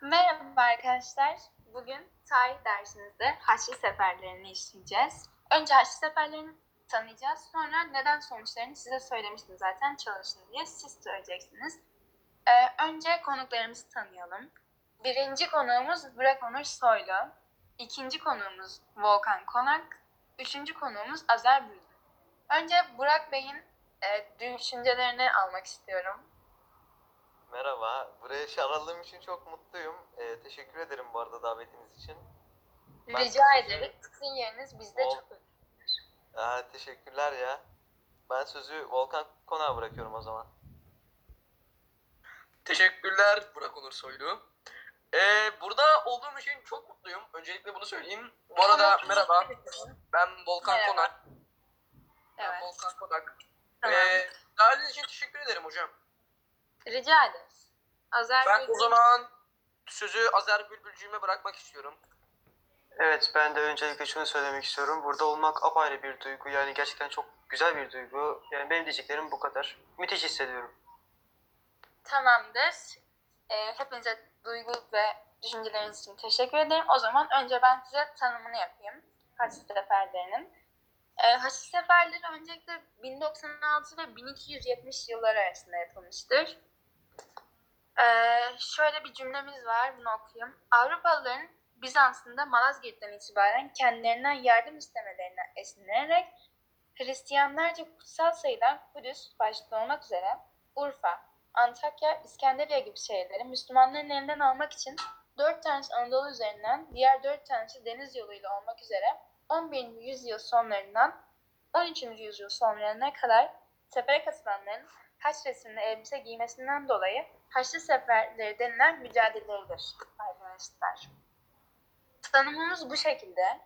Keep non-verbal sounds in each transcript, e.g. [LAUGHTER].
Merhaba arkadaşlar. Bugün tarih dersimizde Haçlı Seferlerini işleyeceğiz. Önce Haçlı Seferlerini tanıyacağız. Sonra neden sonuçlarını size söylemiştim zaten çalışın diye siz söyleyeceksiniz. Ee, önce konuklarımızı tanıyalım. Birinci konuğumuz Burak Onur Soylu. İkinci konuğumuz Volkan Konak. Üçüncü konuğumuz Azer Bülbül. Önce Burak Bey'in e, düşüncelerini almak istiyorum. Merhaba, buraya çağrıldığım için çok mutluyum. Ee, teşekkür ederim bu arada davetiniz için. Ben Rica teşekkür ederiz. ederim. Sizin yeriniz bizde Ol- çok önemli. Aa, Ee, teşekkürler ya. Ben sözü Volkan Konağa bırakıyorum o zaman. Teşekkürler Burak Onur Soylu. Ee, burada olduğum için çok mutluyum. Öncelikle bunu söyleyeyim. Bu arada merhaba. Ben Volkan Merhaba. Konak. Ben Evet. Volkan Konak. Tamam. Ee, davetiniz için teşekkür ederim hocam. Rica ederiz. Azer Ben Bülbül- o zaman sözü Azer Bülbülcüğüme bırakmak istiyorum. Evet ben de öncelikle şunu söylemek istiyorum. Burada olmak apayrı bir duygu. Yani gerçekten çok güzel bir duygu. Yani benim diyeceklerim bu kadar. Müthiş hissediyorum. Tamamdır. Ee, hepinize duygu ve düşünceleriniz için teşekkür ederim. O zaman önce ben size tanımını yapayım. Haçlı Seferlerinin. Ee, Haçlı Seferleri öncelikle 1096 ve 1270 yılları arasında yapılmıştır. Ee, şöyle bir cümlemiz var, bunu okuyayım. Avrupalıların Bizans'ında Malazgirt'ten itibaren kendilerinden yardım istemelerine esinlenerek Hristiyanlarca kutsal sayılan Kudüs başta olmak üzere Urfa, Antakya, İskenderiye gibi şehirleri Müslümanların elinden almak için dört tanesi Anadolu üzerinden, diğer dört tanesi deniz yoluyla olmak üzere 11. yüzyıl sonlarından 13. yüzyıl sonlarına kadar sefere katılanların haç resimli elbise giymesinden dolayı haçlı seferleri denilen mücadeleleridir arkadaşlar. Tanımımız bu şekilde.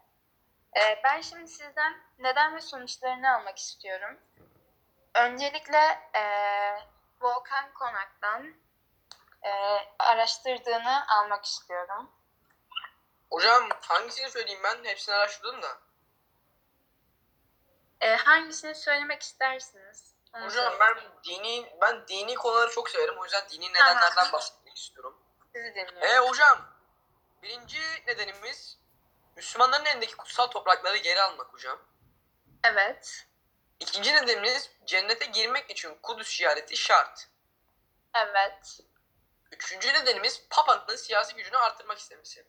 Ee, ben şimdi sizden neden ve sonuçlarını almak istiyorum. Öncelikle ee, Volkan Konak'tan e, araştırdığını almak istiyorum. Hocam hangisini söyleyeyim ben? Hepsini araştırdım da. E, hangisini söylemek istersiniz? Onu Hocam söyleyin. ben dini ben dini konuları çok severim. O yüzden dini nedenlerden [LAUGHS] bahsetmek istiyorum. sizi dinliyorum. Ee hocam, birinci nedenimiz Müslümanların elindeki kutsal toprakları geri almak hocam. Evet, İkinci nedenimiz cennete girmek için Kudüs ziyareti şart. evet. Üçüncü nedenimiz Papa'nın siyasi gücünü artırmak istemesi.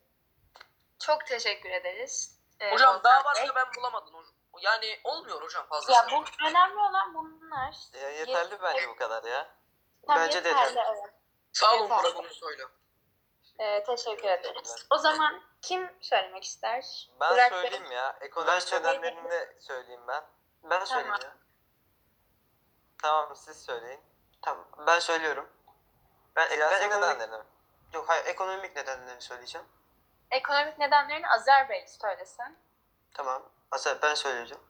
Çok teşekkür ederiz. e, Hocam Volkan daha Bey. başka ben bulamadım. hocam. Yani olmuyor hocam fazla. Ya bu önemli olan bunlar. Ya, yeterli bence bu kadar ya. Tam Bence de yeterli, yeterli. evet. Sağ olun Yeter. Burak Onur Soylu. E, teşekkür ederiz. O zaman kim söylemek ister? Ben Burak Bey. söyleyeyim ya. Ben Ekonomik söyleyeyim. nedenlerini de söyleyeyim ben. Ben söyleyeyim ya. Tamam siz söyleyin. Tamam. Ben söylüyorum. Ben, Siyasi ben ekonomik, nedenlerini mi? yok, hayır, ekonomik nedenlerini söyleyeceğim. Ekonomik nedenlerini Azer Bey söylesin. Tamam. Aslında ben söyleyeceğim.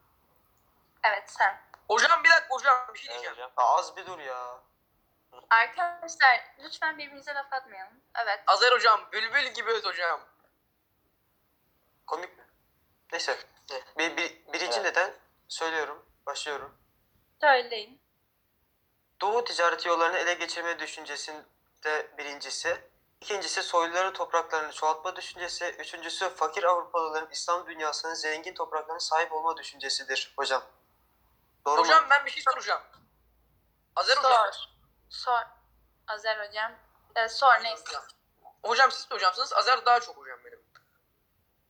Evet sen. Hocam bir dakika hocam bir şey Evet diyeceğim. hocam. Aa, az bir dur ya. Arkadaşlar lütfen birbirinize laf atmayalım. Evet. Azer hocam bülbül gibi öt hocam. Komik mi? Neyse. Evet. Bir, bir- birinci Evet. neden söylüyorum. Başlıyorum. Söyleyin. Doğu ticareti yollarını ele geçirme düşüncesinde birincisi, ikincisi soyluların topraklarını çoğaltma düşüncesi, üçüncüsü fakir Avrupalıların İslam dünyasının zengin topraklarına sahip olma düşüncesidir hocam. Doğru mu? Hocam ben bir şey soracağım. Azer hocam. Sor. Sor. Azer hocam. Ee, sor neyse. Hocam siz de hocamsınız. Azer daha çok hocam benim.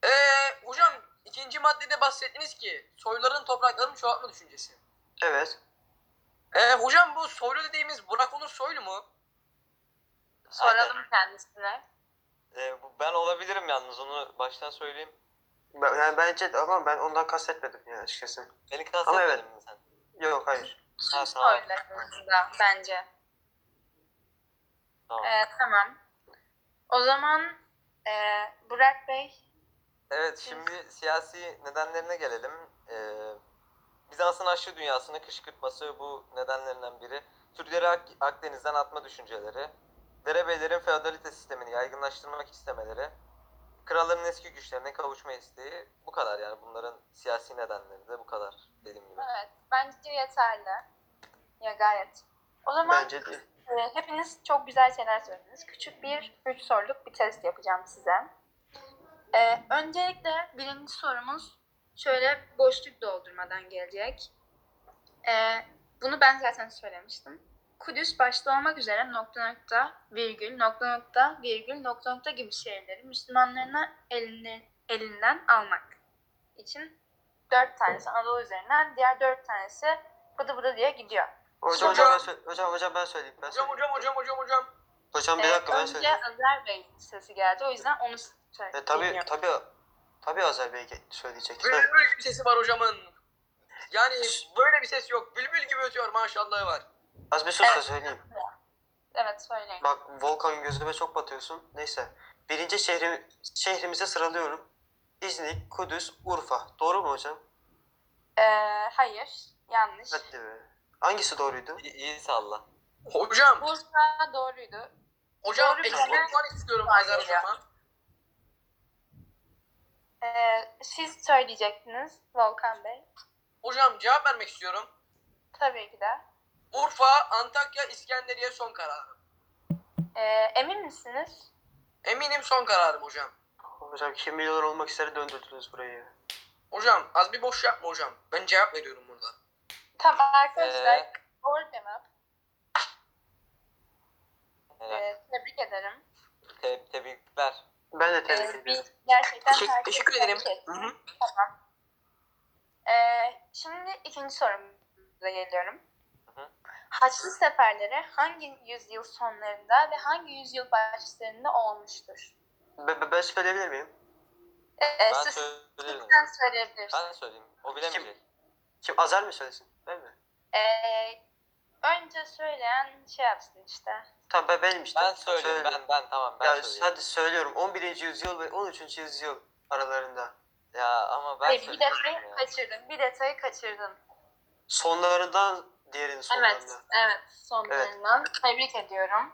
Ee, hocam ikinci maddede bahsettiniz ki soyluların topraklarını çoğaltma düşüncesi. Evet. Ee, hocam bu soylu dediğimiz Burak Onur soylu mu? Soralım kendisine. Ee, bu- ben olabilirim yalnız onu baştan söyleyeyim. Ben, yani bence ama ben ondan kastetmedim yani açıkçası. Beni kastetmedin evet. mi sen? Yok hayır. Ha, tamam. Soylarında bence. Tamam. Ee, tamam. O zaman e, Burak Bey Evet şimdi siyasi nedenlerine gelelim. Ee, Bizans'ın aşırı dünyasını kışkırtması bu nedenlerinden biri. Türkleri Ak- Akdeniz'den atma düşünceleri. Derebeylerin feodalite sistemini yaygınlaştırmak istemeleri. Kralların eski güçlerine kavuşma isteği. Bu kadar yani bunların siyasi nedenleri de bu kadar dediğim gibi. evet bence yeterli. Ya gayet. O zaman Bence değil. e, Ee, Hepiniz çok güzel şeyler söylediniz. Küçük bir üç soruluk bir test yapacağım size. Ee, öncelikle birinci sorumuz şöyle boşluk doldurmadan gelecek. Ee, bunu ben zaten söylemiştim. Kudüs başta olmak üzere nokta nokta virgül nokta nokta virgül nokta nokta gibi şehirleri Müslümanlarına elini, elinden almak için dört tanesi Anadolu üzerinden diğer dört tanesi bıdı bıdı diye gidiyor. Hocam, hocam, Hocam- ben, söyle- hocam, hocam ben söyleyeyim. Ben Hocam söyleyeyim. hocam hocam hocam hocam. Hocam bir Ee, dakika ben önce söyleyeyim. Azer Bey sesi geldi. O yüzden onu söyle. E, tabii, tabii, tabii Azer Bey ge- söyleyecek. Heh. [LAUGHS] Bülbül gibi sesi var hocamın. Yani böyle bir ses yok. Bülbül gibi ötüyor maşallah var. Az bir sus da Evet. söyleyeyim. Evet söyleyin. Bak Volkan gözüme çok batıyorsun. Neyse. Birinci şehrim, şehrimize sıralıyorum. İznik, Kudüs, Urfa. Doğru mu hocam? Ee, hayır. Yanlış. Hadi be. Hangisi doğruydu? İyi, iyi salla. Hocam. Bursa doğruydu. Hocam Doğru eksi bir bir şey. puan istiyorum Hayır Azer ya. hocama. Ee, siz söyleyecektiniz Volkan Bey. Hocam cevap vermek istiyorum. Tabii ki de. Urfa, Antakya, İskenderiye son kararım. Ee, emin misiniz? Eminim son kararım hocam. Hocam kim milyoner olmak ister döndürdünüz burayı. Hocam az bir boş yapma hocam. Ben cevap veriyorum burada. Tamam arkadaşlar. Ee? Doğru cevap. Helal. Ee, tebrik ederim. Te- tebrikler. Ben de tebrik Ee, ediyorum. bir, gerçekten Teşekkür- herkes teşekkür ederim. tebrik etti. Hı hı. Ee, şimdi ikinci sorumuza geliyorum. Hı hı. Haçlı seferleri hangi yüzyıl sonlarında ve hangi yüzyıl başlarında olmuştur? Ben, ben- ben söyleyebilir miyim? Ee, Ben siz söylerim. sen söyleyebilirsin. Ben söyleyeyim. O bilemeyecek. Kim Azer mi söylesin? Ben mi? Ee, önce söyleyen şey yapsın işte. Tamam ben benim işte. Ben söyleyeyim. Söyleyeyim. Ben ben tamam ben Ya, söyleyeyim. hadi söylüyorum. 11. yüzyıl ve 13. yüzyıl aralarında. Ya ama ben Hayır, bir söyleyeyim detayı ya. kaçırdın. Bir detayı kaçırdın. Sonlarından diğerinin sonlarına. Evet, evet. Sonlarından. Tebrik ediyorum.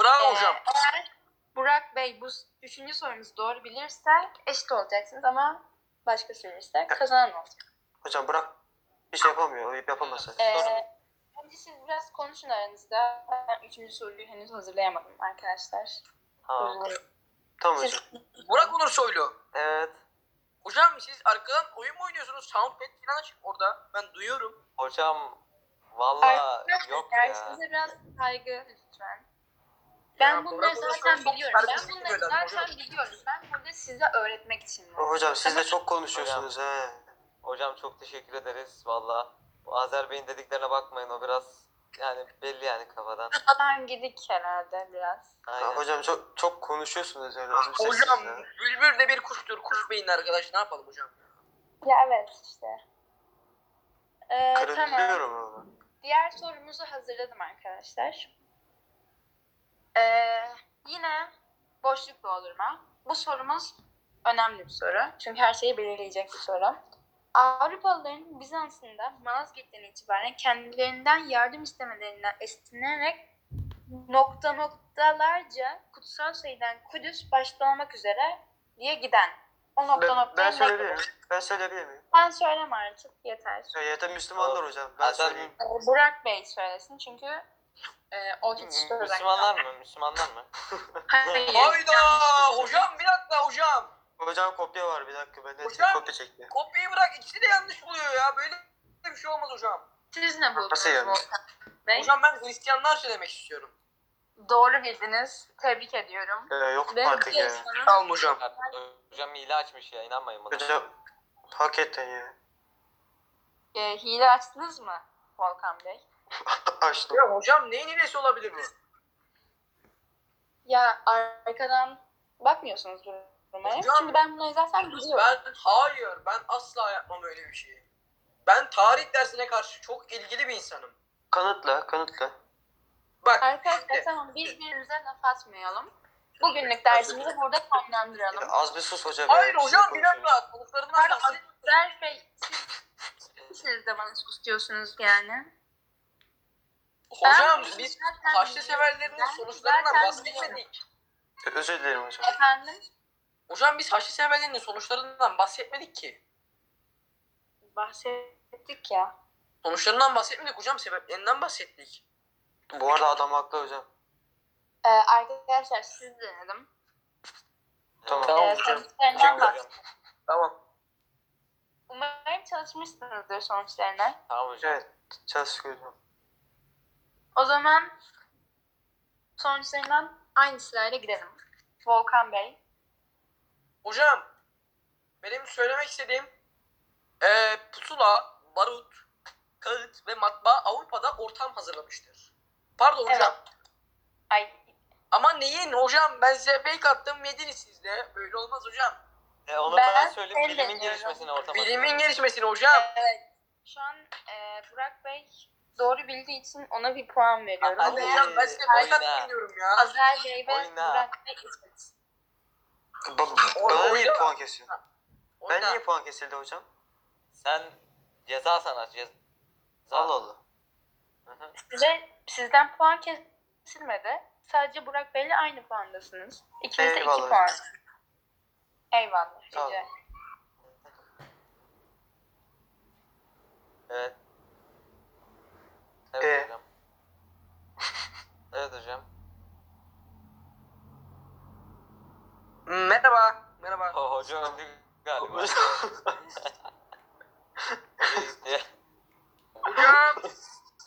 Bravo Ee, hocam. eğer Burak Bey bu s- üçüncü sorumuzu doğru bilirse eşit olacaksınız ama başka bilirse kazanan olacak. Hocam bırak. Bir şey yapamıyor. o Yapamaz. Ee, önce siz biraz konuşun aranızda. Ben üçüncü soruyu henüz hazırlayamadım arkadaşlar. Tamam. Ee, Tamam Siz hocam. Burak Onur Soylu. Evet. Hocam siz arkadan oyun mu oynuyorsunuz? Soundpad falan açık orada. Ben duyuyorum. Hocam valla yok arkadaşlar, ya. Size biraz saygı lütfen. Ben Ya, bunları Burak Onur zaten Soylu çok biliyorum. Ben saygısız bunları bir adam hocam. zaten biliyorum. Ben burada size öğretmek için varım. Hocam siz de çok konuşuyorsunuz he. Hocam çok teşekkür ederiz valla. Bu Azer Bey'in dediklerine bakmayın o biraz yani belli yani [LAUGHS] kafadan. Kafadan gidik herhalde biraz. Ya, Aynen. hocam çok çok konuşuyorsunuz yani. Az bir sessiz Hocam ya. bülbül de bir kuştur. Kuş beyinli arkadaş. Ne yapalım hocam? Ya evet işte. Ee, tamam. Kırılıyorum ama. Diğer sorumuzu hazırladım arkadaşlar. Ee, yine boşluk doldurma. Bu sorumuz önemli bir soru. Çünkü her şeyi belirleyecek bir soru. Avrupalıların Bizans'ında Malazgirt'ten itibaren kendilerinden yardım istemelerinden esinlenerek nokta noktalarca kutsal şeyden Kudüs başta olmak üzere diye giden. O nokta Ben, ben noktaya ne söyleyebilir kadar? miyim? Ben söyleyebilir miyim? Ben söyleme artık yeter. Ya, ya da Müslümanlar hocam. Ben Azer- söyleyeyim. Ee, Burak Bey söylesin çünkü e, o hiç Hmm, Mü- söylemedi. Müslümanlar mı? Müslümanlar mı? Hayır. Hayda yanlış. şey. hocam bir dakika hocam. Hocam kopya var bir dakika. Ben de Hocam- kopya çekti. Kopyayı bırak ikisi de yanlış buluyor ya. Böyle bir şey olmaz hocam. Siz ne buldunuz Nasıl şey yani? Volkan Bey? Hocam ben Hristiyanlarca demek istiyorum. Doğru bildiniz. Tebrik ediyorum. Ee, yok Ve artık diğer ya. soru- Sağ olun hocam. Hocam hile açmış ya inanmayın bana. Hocam hakikaten ya. [LAUGHS] E, hile açtınız mı Volkan Bey? Açtım. Ya hocam neyin hilesi olabilir bu? Ya arkadan bakmıyorsunuz duruma. Hocam- Çünkü ben bunları zaten biliyorum. Ben hayır ben asla yapmam öyle bir şeyi. Ben tarih dersine karşı çok ilgili bir insanım. Kanıtla, kanıtla. Bak Arkadaşlar şimdi- tamam birbirimize laf atmayalım. Bugünlük dersimizi burada sonlandıralım. Az bir şey sus hocam. ya. Siz Hayır de hocam bir konuşuyorsunuz. dakika. Konuklarından Pardon bahsedin. Azer Bey siz, siz de bana sus diyorsunuz yani. Hocam Ben- biz zaten taşlı biliyorum. severlerinin Ben sonuçlarından zaten bahsetmedik. Ee, Özür dilerim hocam. biliyorum. Efendim? Hocam biz taşlı severlerinin sonuçlarından bahsetmedik ki. Bahsettik ya. Sonuçlarından bahsetmedik hocam sebeplerinden bahsettik. Bu arada adam haklı hocam. Ee, arkadaşlar siz denedim. Tamam. Ee, Tamam hocam. sonuçlarından Teşekkür bak. hocam. Tamam. Umarım çalışmışsınızdır sonuçlarına. Tamam hocam. Evet. Çalıştık hocam. O zaman sonuçlarından aynı sırayla gidelim. Volkan Bey. Hocam benim söylemek istediğim eee, pusula, barut, kağıt ve matbaa Avrupa'da ortam hazırlamıştır. Pardon Evet. hocam. Ay Ama neyin hocam? Ben size fake attım yediniz siz de. Böyle olmaz hocam. E, onu Ben ben, söyleyeyim. elde Bilimin ediyorum. gelişmesine ortam Bilimin gelişmesini hocam. evet. ee, Şu an e, Burak Bey doğru bildiği için ona bir puan veriyorum. Aha, Hadi Hadi. hocam ben size fake Oyna. attım diyorum ya. Azer Bey ve Oyna. Burak Bey İsmet. Ba- ba- Bana niye puan kesiyor? Oyna. Ben niye puan kesildi hocam? Sen ceza sanat. Ceza. Allah Allah. Size, sizden puan kesilmedi. Sadece Burak Bey'le aynı puandasınız. İkiniz de iki Eyvallah. puan. Eyvallah. Sağ rica olun. ederim. Evet. Evet Ee? hocam. evet hocam. Merhaba. Merhaba. Ho- hoca öldü galiba. Hoca- Hocam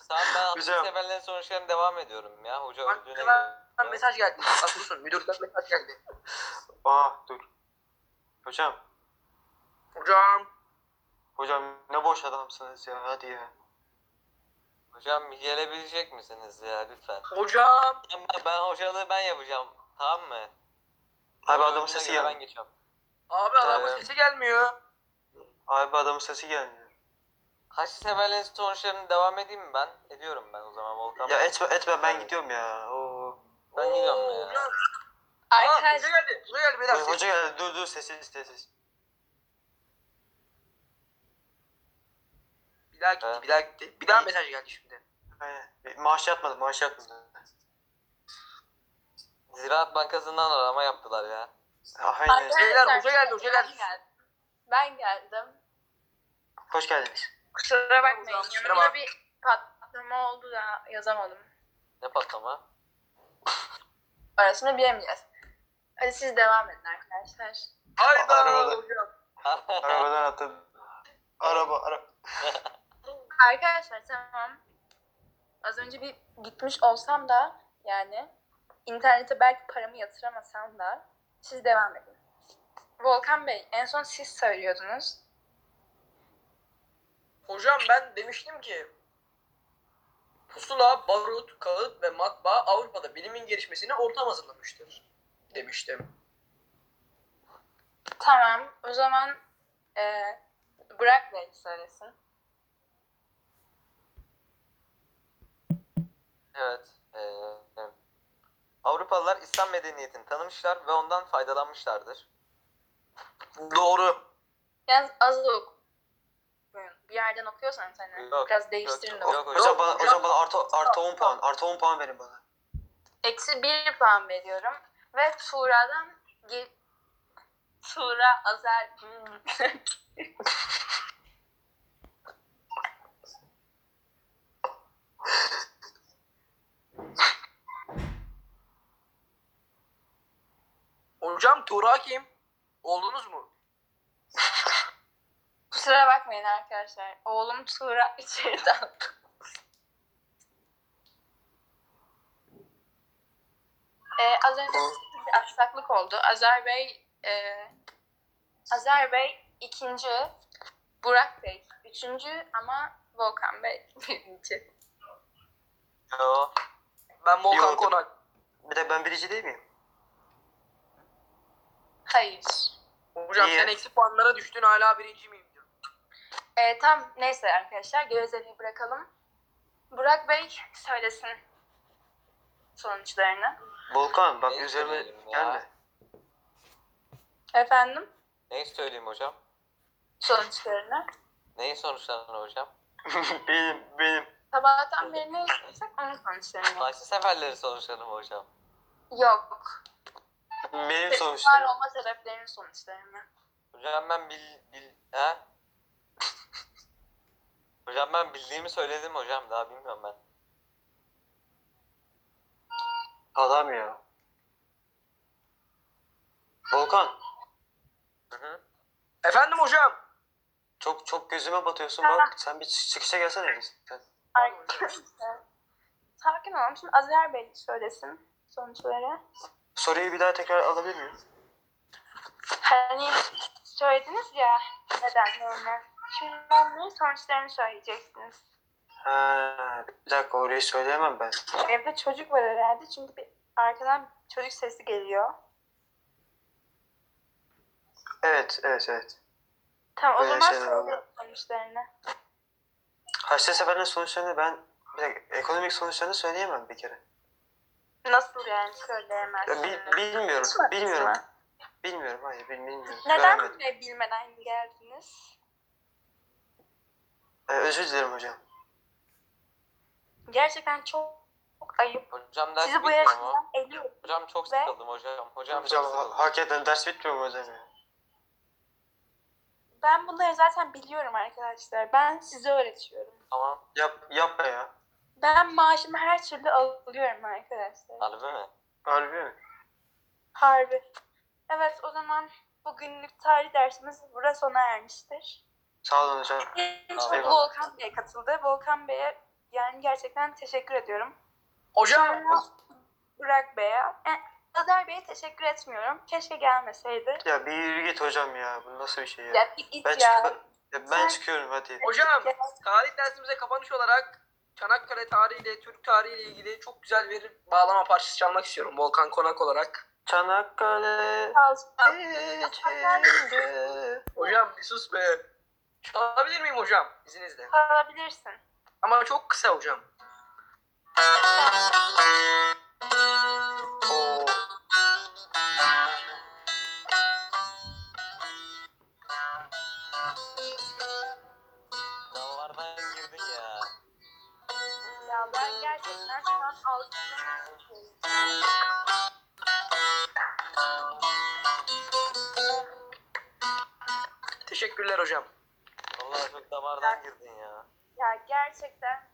tamam ben altı Hocam. seferlerin sonuçlarına devam ediyorum ya. Hoca öldüğüne göre. arkadan mesaj geldi. Bak dursun müdürden mesaj geldi. [LAUGHS] Aa dur. Hocam. Hocam. Hocam ne boş adamsınız ya hadi ya. Hocam gelebilecek misiniz ya lütfen. Hocam. Ben, ben hocalığı ben yapacağım. Tamam mı? Abi Hoca adamın öldüğüne sesi göre gelmiyor. Ben geçiyorum. Abi adamın Ee, sesi gelmiyor. Abi adamın sesi gelmiyor. Haçlı seferlerin sonuçlarına devam edeyim mi ben? Ediyorum ben o zaman Volkan. Ya etme etme ben gidiyorum ya. Oo. ben Oo, gidiyorum ya. Hocam. Aa, hoca Arkadaşlar geldi. Hoca geldi beyler. Hoca- Hoca geldi dur dur sessiz sessiz. Bir daha gitti, Evet. bir daha gitti. Bir daha mesaj geldi şimdi. Aynen. E, Maaş yatmadı maaş yatmadı. Ziraat Bankası'ndan arama yaptılar ya. Aynen. Arkadaşlar, Beyler, hoca geldi, hoca ben geldi. Ben geldim. Hoş geldiniz. Kusura bakmayın. Kusura Yanımda bak. bir patlama oldu da yazamadım. Ne patlama? Arasını bilemeyeceğiz. Hadi siz devam edin arkadaşlar. Hayda Arabada. hocam. Arabadan attı. Araba araba. Arkadaşlar tamam. Az önce bir gitmiş olsam da yani internete belki paramı yatıramasam da siz devam edin. Volkan Bey en son siz söylüyordunuz. Hocam ben demiştim ki pusula, barut, kağıt ve matbaa Avrupa'da bilimin gelişmesine ortam hazırlamıştır demiştim. Tamam o zaman eee Burak Bey söylesin. Evet. eee, evet. Avrupalılar İslam medeniyetini tanımışlar ve ondan faydalanmışlardır. Doğru. Yalnız az da oku. Bir yerden okuyorsan sen. de. Yok, Biraz değiştirin de. oku. yok, yok. Hocam bana, hocam. hocam bana artı, artı 10 puan. Artı 10 puan verin bana. Eksi bir puan veriyorum. Ve Tuğra'dan ge- Tuğra Azer Hmm. Hocam Tuğra kim? Oldunuz mu? Kusura bakmayın arkadaşlar. Oğlum [LAUGHS] Tuğra içeride. ee, az önce bir aksaklık oldu. Azer Bey e, Azer Bey ikinci, Burak Bey üçüncü ama Volkan Bey [LAUGHS] birinci. Yo. Ben Volkan Yok. Konak. Bir de ben birinci değil miyim? Hayır. Hocam İyi. sen eksi puanlara düştün hala birinci miyim? diyor. Ee, tam neyse arkadaşlar gevezeliği bırakalım. Burak Bey söylesin sonuçlarını. Volkan bak Neyse üzerime diyelim ya. gelme. [LAUGHS] Efendim Neyi söyleyeyim hocam? sonuçlarını. Neyin sonuçlarını hocam? benim benim. Sabahtan beri ne yapıyorsak onun sonuçlarını. Haçlı seferleri sonuçlarını mı hocam? Yok. Benim Var sonuçlarım. olma sebeplerinin sonuçlarını. Hocam ben bil... bil he? [LAUGHS] hocam ben bildiğimi söyledim hocam. Daha bilmiyorum ben. Adam ya. Volkan Hı hı. Efendim hocam. çok çok gözüme batıyorsun bak. Sen bir çı- çıkışa gelsene. biz. Sen- Arkadaşlar. Sakin olalım. Şimdi Azer Bey söylesin sonuçları. Soruyu bir daha tekrar alabilir miyim? Hani söylediniz ya nedenlerini. Şimdi onların sonuçlarını söyleyeceksiniz. Ha, bir dakika orayı söyleyemem ben. Evde çocuk var herhalde çünkü bir arkadan çocuk sesi geliyor. Evet, evet, evet. Tamam o Böyle zaman şeyler oluyor. söyleyelim sonuçlarını. Haçlı seferinin sonuçlarını ben bir dakika, ekonomik sonuçlarını söyleyemem bir kere. Nasıl yani Ya, söyleyemezsiniz? bi- bilmiyorum, Hiç mi? bilmiyorum. Hiç mi? Bilmiyorum, hayır bil- bilmiyorum. Neden Göremedim. buraya bilmeden geldiniz? Ee, özür dilerim hocam. Gerçekten çok, çok ayıp. Hocam ders Sizi bu bitmiyor mu? yaşamdan eliyorum. Hocam çok Ve- sıkıldım hocam. Hocam, Hocam çok ha- sıkıldım. hakikaten ders bitmiyor mu hocam ya? Ben bunları zaten biliyorum arkadaşlar. Ben size öğretiyorum. Tamam. Yap, yapma ya. Ben maaşımı her türlü alıyorum arkadaşlar. Harbi mi? Harbi mi? Harbi. Evet o zaman bugünlük tarih dersimiz burada sona ermiştir. Sağ olun hocam. Şimdi Eyvallah. Volkan Bey katıldı. Volkan Bey'e yani gerçekten teşekkür ediyorum. Hocam. Sonra Burak Bey'e, e, Azer Bey'e teşekkür etmiyorum. Keşke gelmeseydi. Ya bir yürü git hocam ya. Bu nasıl bir şey ya? Ya bir git ben, ya. çıkma- ya ben Sen- çıkıyorum hadi. Hocam tarih dersimize kapanış olarak Çanakkale tarihiyle, Türk tarihiyle ilgili çok güzel bir bağlama parçası çalmak istiyorum. Volkan Konak olarak. Çanakkale Sağ olsun. içinde. Hocam bir sus be. Çalabilir miyim hocam? İzninizle. Kalabilirsin. Ama çok kısa hocam. Oo. Davardan girdin ya. Ya ben gerçekten şu an alkışlıyorum. Teşekkürler hocam. Vallahi çok damardan girdin ya. Ya gerçekten